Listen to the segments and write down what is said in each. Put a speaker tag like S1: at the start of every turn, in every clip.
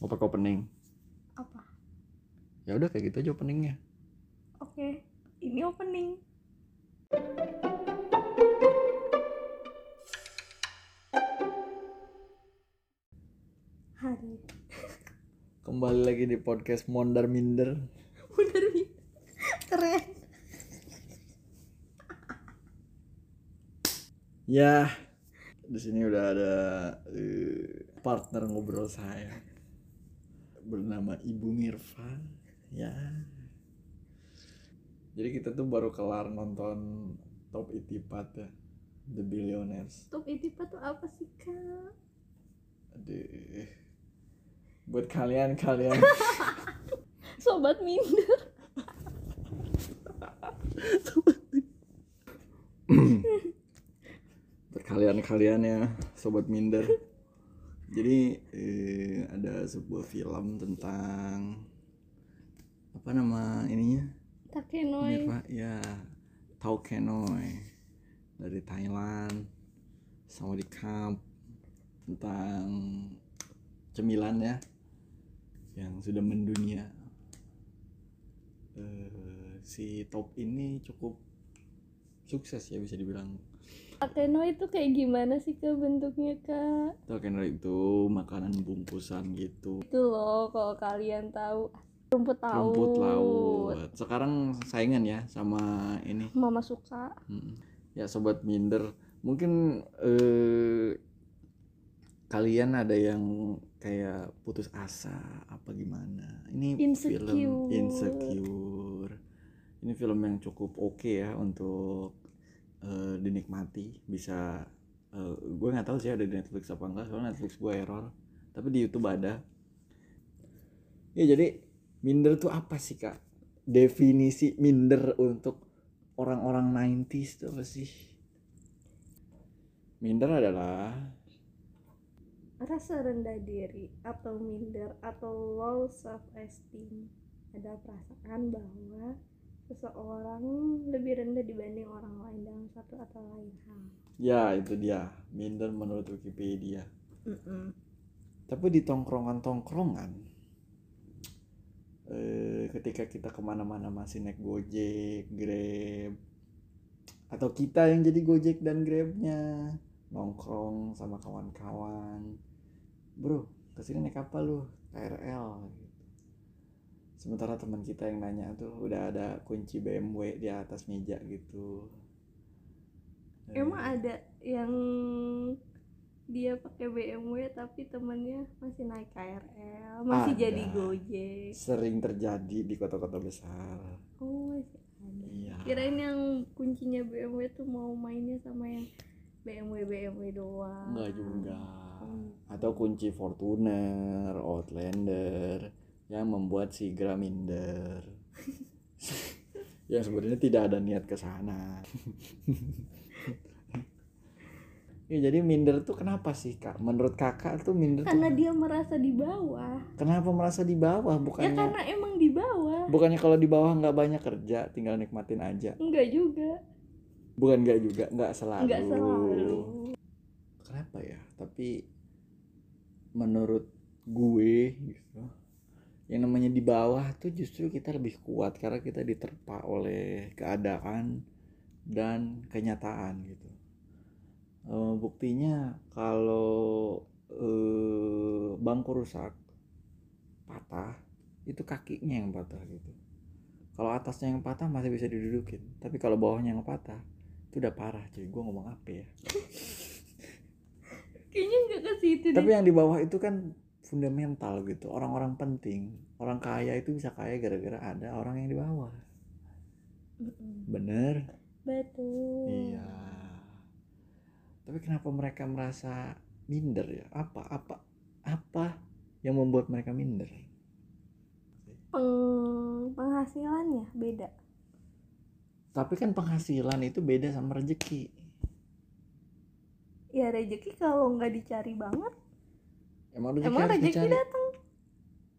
S1: mau pakai opening
S2: Apa?
S1: ya udah kayak gitu aja openingnya
S2: Oke, ini opening. Hari.
S1: kembali lagi di podcast mondar minder
S2: Bener Mi. Keren.
S1: ya di sini udah ada eh, partner ngobrol saya bernama Ibu Mirfa ya jadi kita tuh baru kelar nonton Top Itipat ya The Billionaires
S2: Top Itipa tuh apa sih kak?
S1: Aduh. Buat kalian kalian
S2: Sobat minder.
S1: Buat kalian kalian ya sobat minder. Jadi eh, ada sebuah film tentang apa nama ininya?
S2: Takenoi.
S1: Mirfa ya Tau Kenoi dari Thailand sama di camp tentang cemilan ya yang sudah mendunia Eh, si top ini cukup sukses ya bisa dibilang
S2: Takenoi itu kayak gimana sih kak bentuknya kak?
S1: Tau Kenoi itu makanan bungkusan gitu
S2: Itu loh kalau kalian tahu rumput laut.
S1: rumput laut sekarang saingan ya sama ini
S2: Mama suka.
S1: Mm. Ya sobat minder, mungkin eh, kalian ada yang kayak putus asa apa gimana? Ini film
S2: Insecure.
S1: insecure. Ini film yang cukup oke ya untuk eh, dinikmati. Bisa eh, gue nggak tahu sih ada di Netflix apa enggak, soalnya Netflix gue error. Tapi di YouTube ada. Ya jadi minder tuh apa sih kak? Definisi minder untuk orang-orang 90s tuh apa sih? Minder adalah
S2: rasa rendah diri atau minder atau low self esteem ada perasaan bahwa seseorang lebih rendah dibanding orang lain dalam satu atau lain hal
S1: ya itu dia minder menurut Wikipedia. Tapi di tongkrongan-tongkrongan eh, ketika kita kemana-mana masih naik Gojek, Grab atau kita yang jadi Gojek dan Grabnya nongkrong sama kawan-kawan bro kesini naik apa lu KRL gitu. sementara teman kita yang nanya tuh udah ada kunci BMW di atas meja gitu Eh,
S2: emang ada yang dia pakai BMW tapi temennya masih naik KRL masih
S1: Ada.
S2: jadi Gojek
S1: sering terjadi di kota-kota besar
S2: oh masih ada
S1: Iya.
S2: kirain yang kuncinya BMW tuh mau mainnya sama yang BMW BMW doang
S1: Enggak juga.
S2: Hmm.
S1: Atau kunci Fortuner, Outlander yang membuat si Graminder. yang sebenarnya tidak ada niat ke sana. ya, jadi minder tuh kenapa sih, Kak? Menurut Kakak tuh minder tuh
S2: karena dia merasa di bawah
S1: kenapa merasa di bawah
S2: ya
S1: bukannya
S2: karena emang di bawah
S1: bukannya kalau di bawah nggak banyak kerja, tinggal nikmatin aja.
S2: enggak juga
S1: Bukan nggak juga, nggak
S2: enggak selalu
S1: kenapa ya tapi menurut gue gitu yang namanya di bawah tuh justru kita lebih kuat karena kita diterpa oleh keadaan dan kenyataan gitu Eh, buktinya kalau eh, bangku rusak patah itu kakinya yang patah gitu kalau atasnya yang patah masih bisa didudukin tapi kalau bawahnya yang patah itu udah parah cuy gue ngomong apa ya
S2: kayaknya enggak ke situ
S1: tapi
S2: deh
S1: yang di bawah itu kan fundamental gitu orang-orang penting orang kaya itu bisa kaya gara-gara ada orang yang di bawah
S2: Mm-mm.
S1: bener Iya.
S2: betul
S1: tapi kenapa mereka merasa minder ya apa apa apa yang membuat mereka minder
S2: Peng- penghasilannya beda
S1: tapi kan penghasilan itu beda sama rezeki
S2: ya rezeki kalau nggak dicari banget
S1: emang rezeki
S2: emang
S1: harus
S2: rezeki
S1: dicari
S2: datang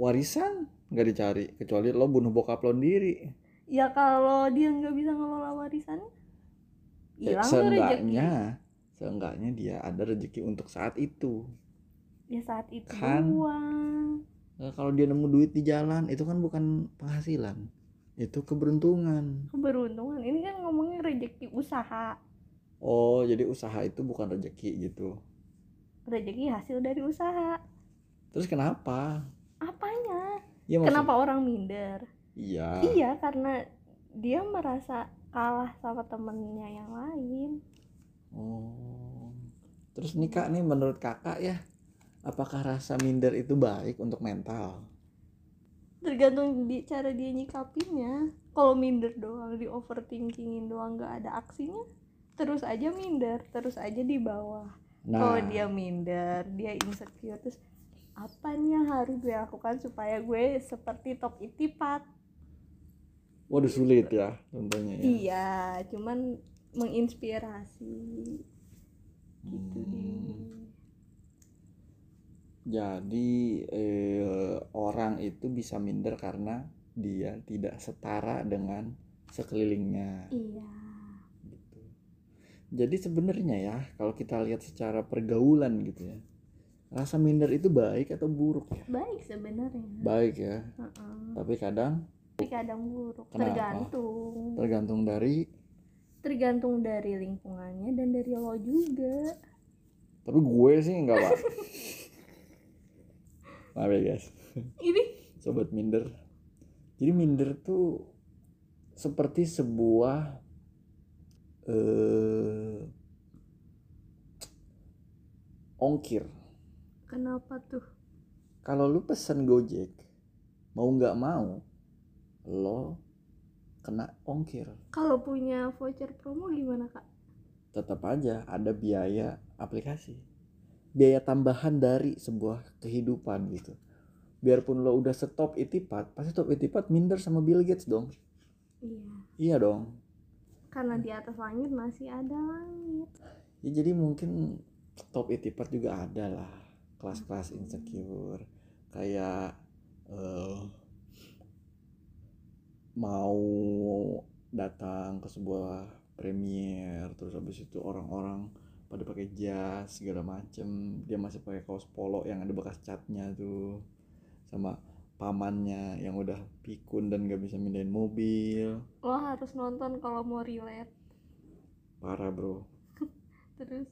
S1: warisan nggak dicari kecuali lo bunuh bokap lo sendiri
S2: ya kalau dia nggak bisa ngelola warisannya
S1: Ya,
S2: hilang tuh rezeki
S1: seenggaknya seenggaknya dia ada rezeki untuk saat itu
S2: ya saat itu
S1: Kan.
S2: doang
S1: Eh, kalau dia nemu duit di jalan itu kan bukan penghasilan itu keberuntungan
S2: keberuntungan ini kan ngomongnya rezeki usaha
S1: oh jadi usaha itu bukan rezeki gitu
S2: rezeki hasil dari usaha
S1: terus kenapa
S2: apanya
S1: ya maksud-
S2: kenapa orang minder
S1: iya
S2: iya karena dia merasa kalah sama temennya yang lain
S1: oh terus nih kak nih menurut kakak ya apakah rasa minder itu baik untuk mental
S2: tergantung di cara dia nyikapinnya kalau minder doang di overthinkingin doang nggak ada aksinya terus aja minder terus aja di bawah
S1: Nah,
S2: kalau Oh, dia minder dia insecure terus apa nih yang harus gue lakukan supaya gue seperti top itipat
S1: waduh sulit ya tentunya ya
S2: iya cuman menginspirasi gitu
S1: Hmm.
S2: deh
S1: Jadi eh, orang itu bisa minder karena dia tidak setara dengan sekelilingnya
S2: iya
S1: gitu. Jadi sebenarnya ya kalau kita lihat secara pergaulan gitu ya. Rasa minder itu baik atau buruk ya?
S2: baik sebenarnya
S1: Baik ya,
S2: Heeh.
S1: tapi kadang
S2: tapi kadang buruk
S1: Kenapa?
S2: tergantung
S1: tergantung dari
S2: tergantung dari lingkungannya dan dari lo juga
S1: tapi gue sih enggak, Pak. Maaf ya, guys.
S2: ini
S1: sobat minder jadi minder tuh seperti sebuah eh ongkir
S2: kenapa tuh
S1: kalau lu pesen gojek mau nggak mau lo kena ongkir
S2: kalau punya voucher promo gimana kak
S1: tetap aja ada biaya aplikasi biaya tambahan dari sebuah kehidupan gitu biarpun lo udah stop itipat pasti stop itipat minder sama Bill Gates dong
S2: iya
S1: iya dong
S2: karena di atas langit masih ada langit
S1: ya jadi mungkin top itipat juga ada lah kelas-kelas insecure kayak eh, mau datang ke sebuah premier terus habis itu orang-orang pada pakai jas segala macem dia masih pakai kaos polo yang ada bekas catnya tuh sama pamannya yang udah pikun dan gak bisa mindahin mobil
S2: lo harus nonton kalau mau relate
S1: parah bro
S2: terus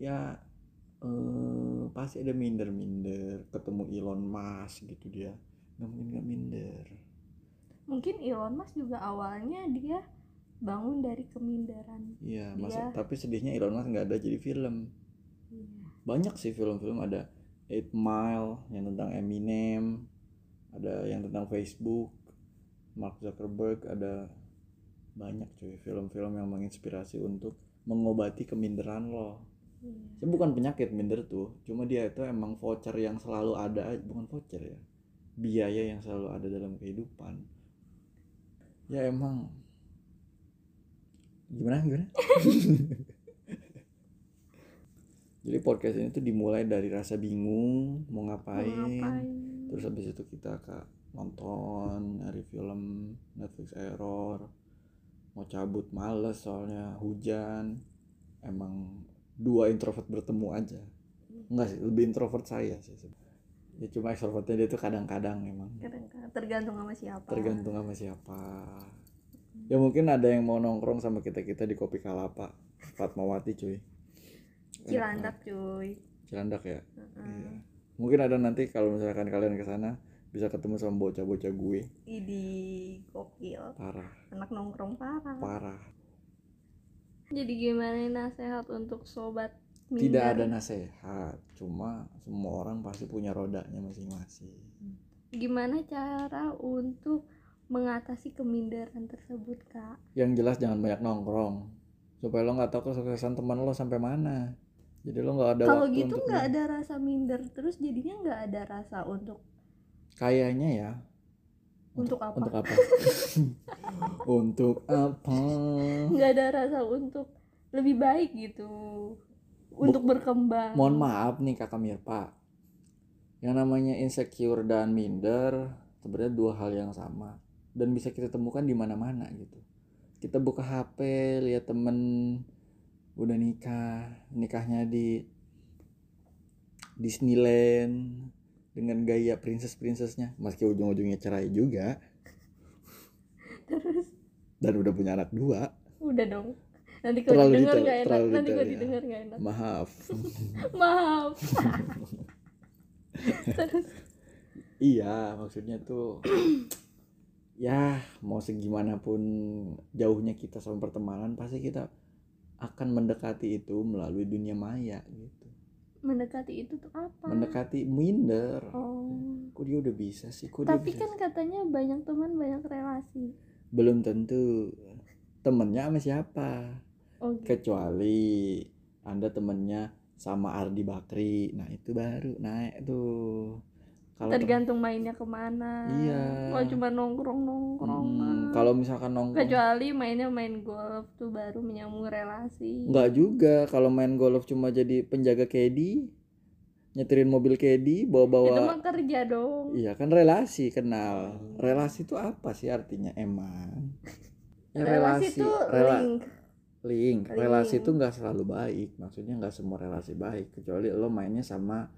S1: ya eh, pasti ada minder-minder ketemu Elon Musk gitu dia nggak mungkin nggak minder
S2: mungkin Elon Musk juga awalnya dia bangun dari keminderan
S1: iya masa
S2: Iya.
S1: tapi sedihnya Elon Musk nggak ada jadi film
S2: iya
S1: banyak sih film-film ada Eight Mile yang tentang Eminem ada yang tentang Facebook Mark Zuckerberg ada banyak cuy film-film yang menginspirasi untuk mengobati keminderan lo
S2: iya.
S1: Saya Ya, bukan penyakit minder tuh, cuma dia itu emang voucher yang selalu ada, bukan voucher ya, biaya yang selalu ada dalam kehidupan. Ya emang gimana gimana? Jadi podcast ini tuh dimulai dari rasa bingung mau
S2: Mau
S1: ngapain,
S2: ngapain
S1: terus habis itu kita ke nonton, nyari film, Netflix error, mau cabut males soalnya hujan, emang dua introvert bertemu aja enggak sih lebih introvert saya sih sebenarnya. ya cuma extrovertnya dia tuh kadang-kadang emang
S2: Kadang-kadang tergantung sama siapa
S1: tergantung sama siapa ya mungkin ada yang mau nongkrong sama kita kita di kopi kalapa Fatmawati cuy Enak
S2: Cilandak cuy
S1: banget. Cilandak ya
S2: Heeh.
S1: Iya. mungkin ada nanti kalau misalkan kalian ke sana bisa ketemu sama bocah-bocah gue
S2: Idi gokil
S1: parah
S2: anak nongkrong parah
S1: parah
S2: Jadi gimana nih nasehat untuk sobat
S1: tidak
S2: minder?
S1: ada nasehat cuma semua orang pasti punya rodanya masing-masing
S2: Gimana cara untuk mengatasi keminderan tersebut kak?
S1: yang jelas jangan banyak nongkrong supaya lo nggak tahu kesuksesan teman lo sampai mana jadi lo nggak ada
S2: Kalau
S1: waktu
S2: gitu
S1: untuk
S2: nggak ada rasa minder terus jadinya nggak ada rasa untuk
S1: kayaknya ya
S2: untuk apa?
S1: untuk apa untuk apa
S2: Nggak ada rasa untuk lebih baik gitu, untuk berkembang.
S1: mohon maaf nih kakak Mirpa yang namanya insecure dan minder sebenarnya dua hal yang sama dan bisa kita temukan di mana-mana gitu kita buka HP lihat temen udah nikah nikahnya di Disneyland dengan gaya princess-princessnya meski ujung-ujungnya cerai juga
S2: terus
S1: dan udah punya anak dua
S2: udah dong nanti kalau
S1: Terlalu
S2: didengar
S1: detail,
S2: nggak enak
S1: terlalu
S2: nanti kalau
S1: detail, ya.
S2: didengar nggak enak
S1: maaf
S2: maaf terus
S1: iya maksudnya tuh ya mau segimana pun jauhnya kita sama pertemanan pasti kita akan mendekati itu melalui dunia maya gitu
S2: Hmm. mendekati itu tuh apa
S1: mendekati minder
S2: oh
S1: kok dia udah bisa sih kok dia
S2: tapi
S1: bisa
S2: kan katanya banyak teman banyak
S1: sih?
S2: relasi
S1: belum tentu temennya sama siapa
S2: oh gitu
S1: kecuali anda temennya sama Ardi Bakri nah itu baru naik tuh kalau tem-
S2: tergantung mainnya kemana
S1: Iya.
S2: kalau cuma nongkrong nongkrong
S1: Hmm, kalau misalkan nongkrong
S2: kecuali mainnya main golf tuh baru menyambung relasi
S1: nggak juga kalau main golf cuma jadi penjaga kedi nyetirin mobil kedi
S2: itu mah
S1: bawa-bawa
S2: kerja dong
S1: iya kan relasi kenal relasi itu apa sih artinya emang Ya,
S2: relasi, tuh
S1: rela-
S2: link
S1: link
S2: Link.
S1: relasi itu nggak selalu baik maksudnya nggak semua relasi baik kecuali lo mainnya sama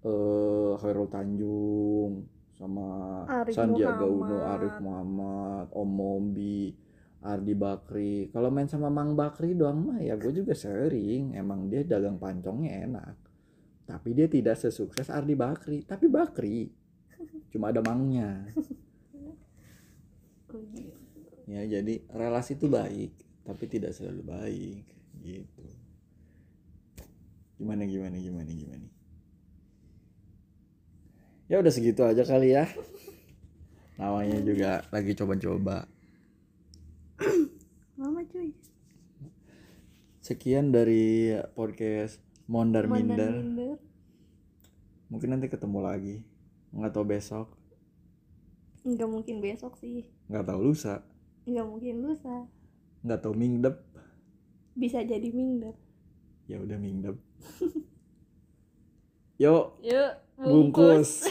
S1: eh Khairul Tanjung sama
S2: Arif
S1: Sandiaga Uno
S2: Muhammad.
S1: Arif Muhammad Om Mombi Ardi Bakri kalau main sama Mang Bakri doang mah ya gue juga sering emang dia dagang pancongnya enak tapi dia tidak sesukses Ardi Bakri tapi Bakri cuma ada mangnya
S2: Oh, gitu.
S1: ya jadi relasi itu baik tapi tidak selalu baik gitu gimana gimana gimana gimana ya udah segitu aja kali ya namanya juga lagi coba-coba
S2: lama cuy
S1: sekian dari podcast mondar
S2: Mandan
S1: minder
S2: minder
S1: mungkin nanti ketemu lagi nggak tahu besok
S2: nggak mungkin besok sih
S1: nggak tahu lusa
S2: nggak mungkin lusa
S1: nggak tahu mingdep
S2: bisa jadi minder
S1: ya udah mingdep yuk
S2: yuk
S1: bungkus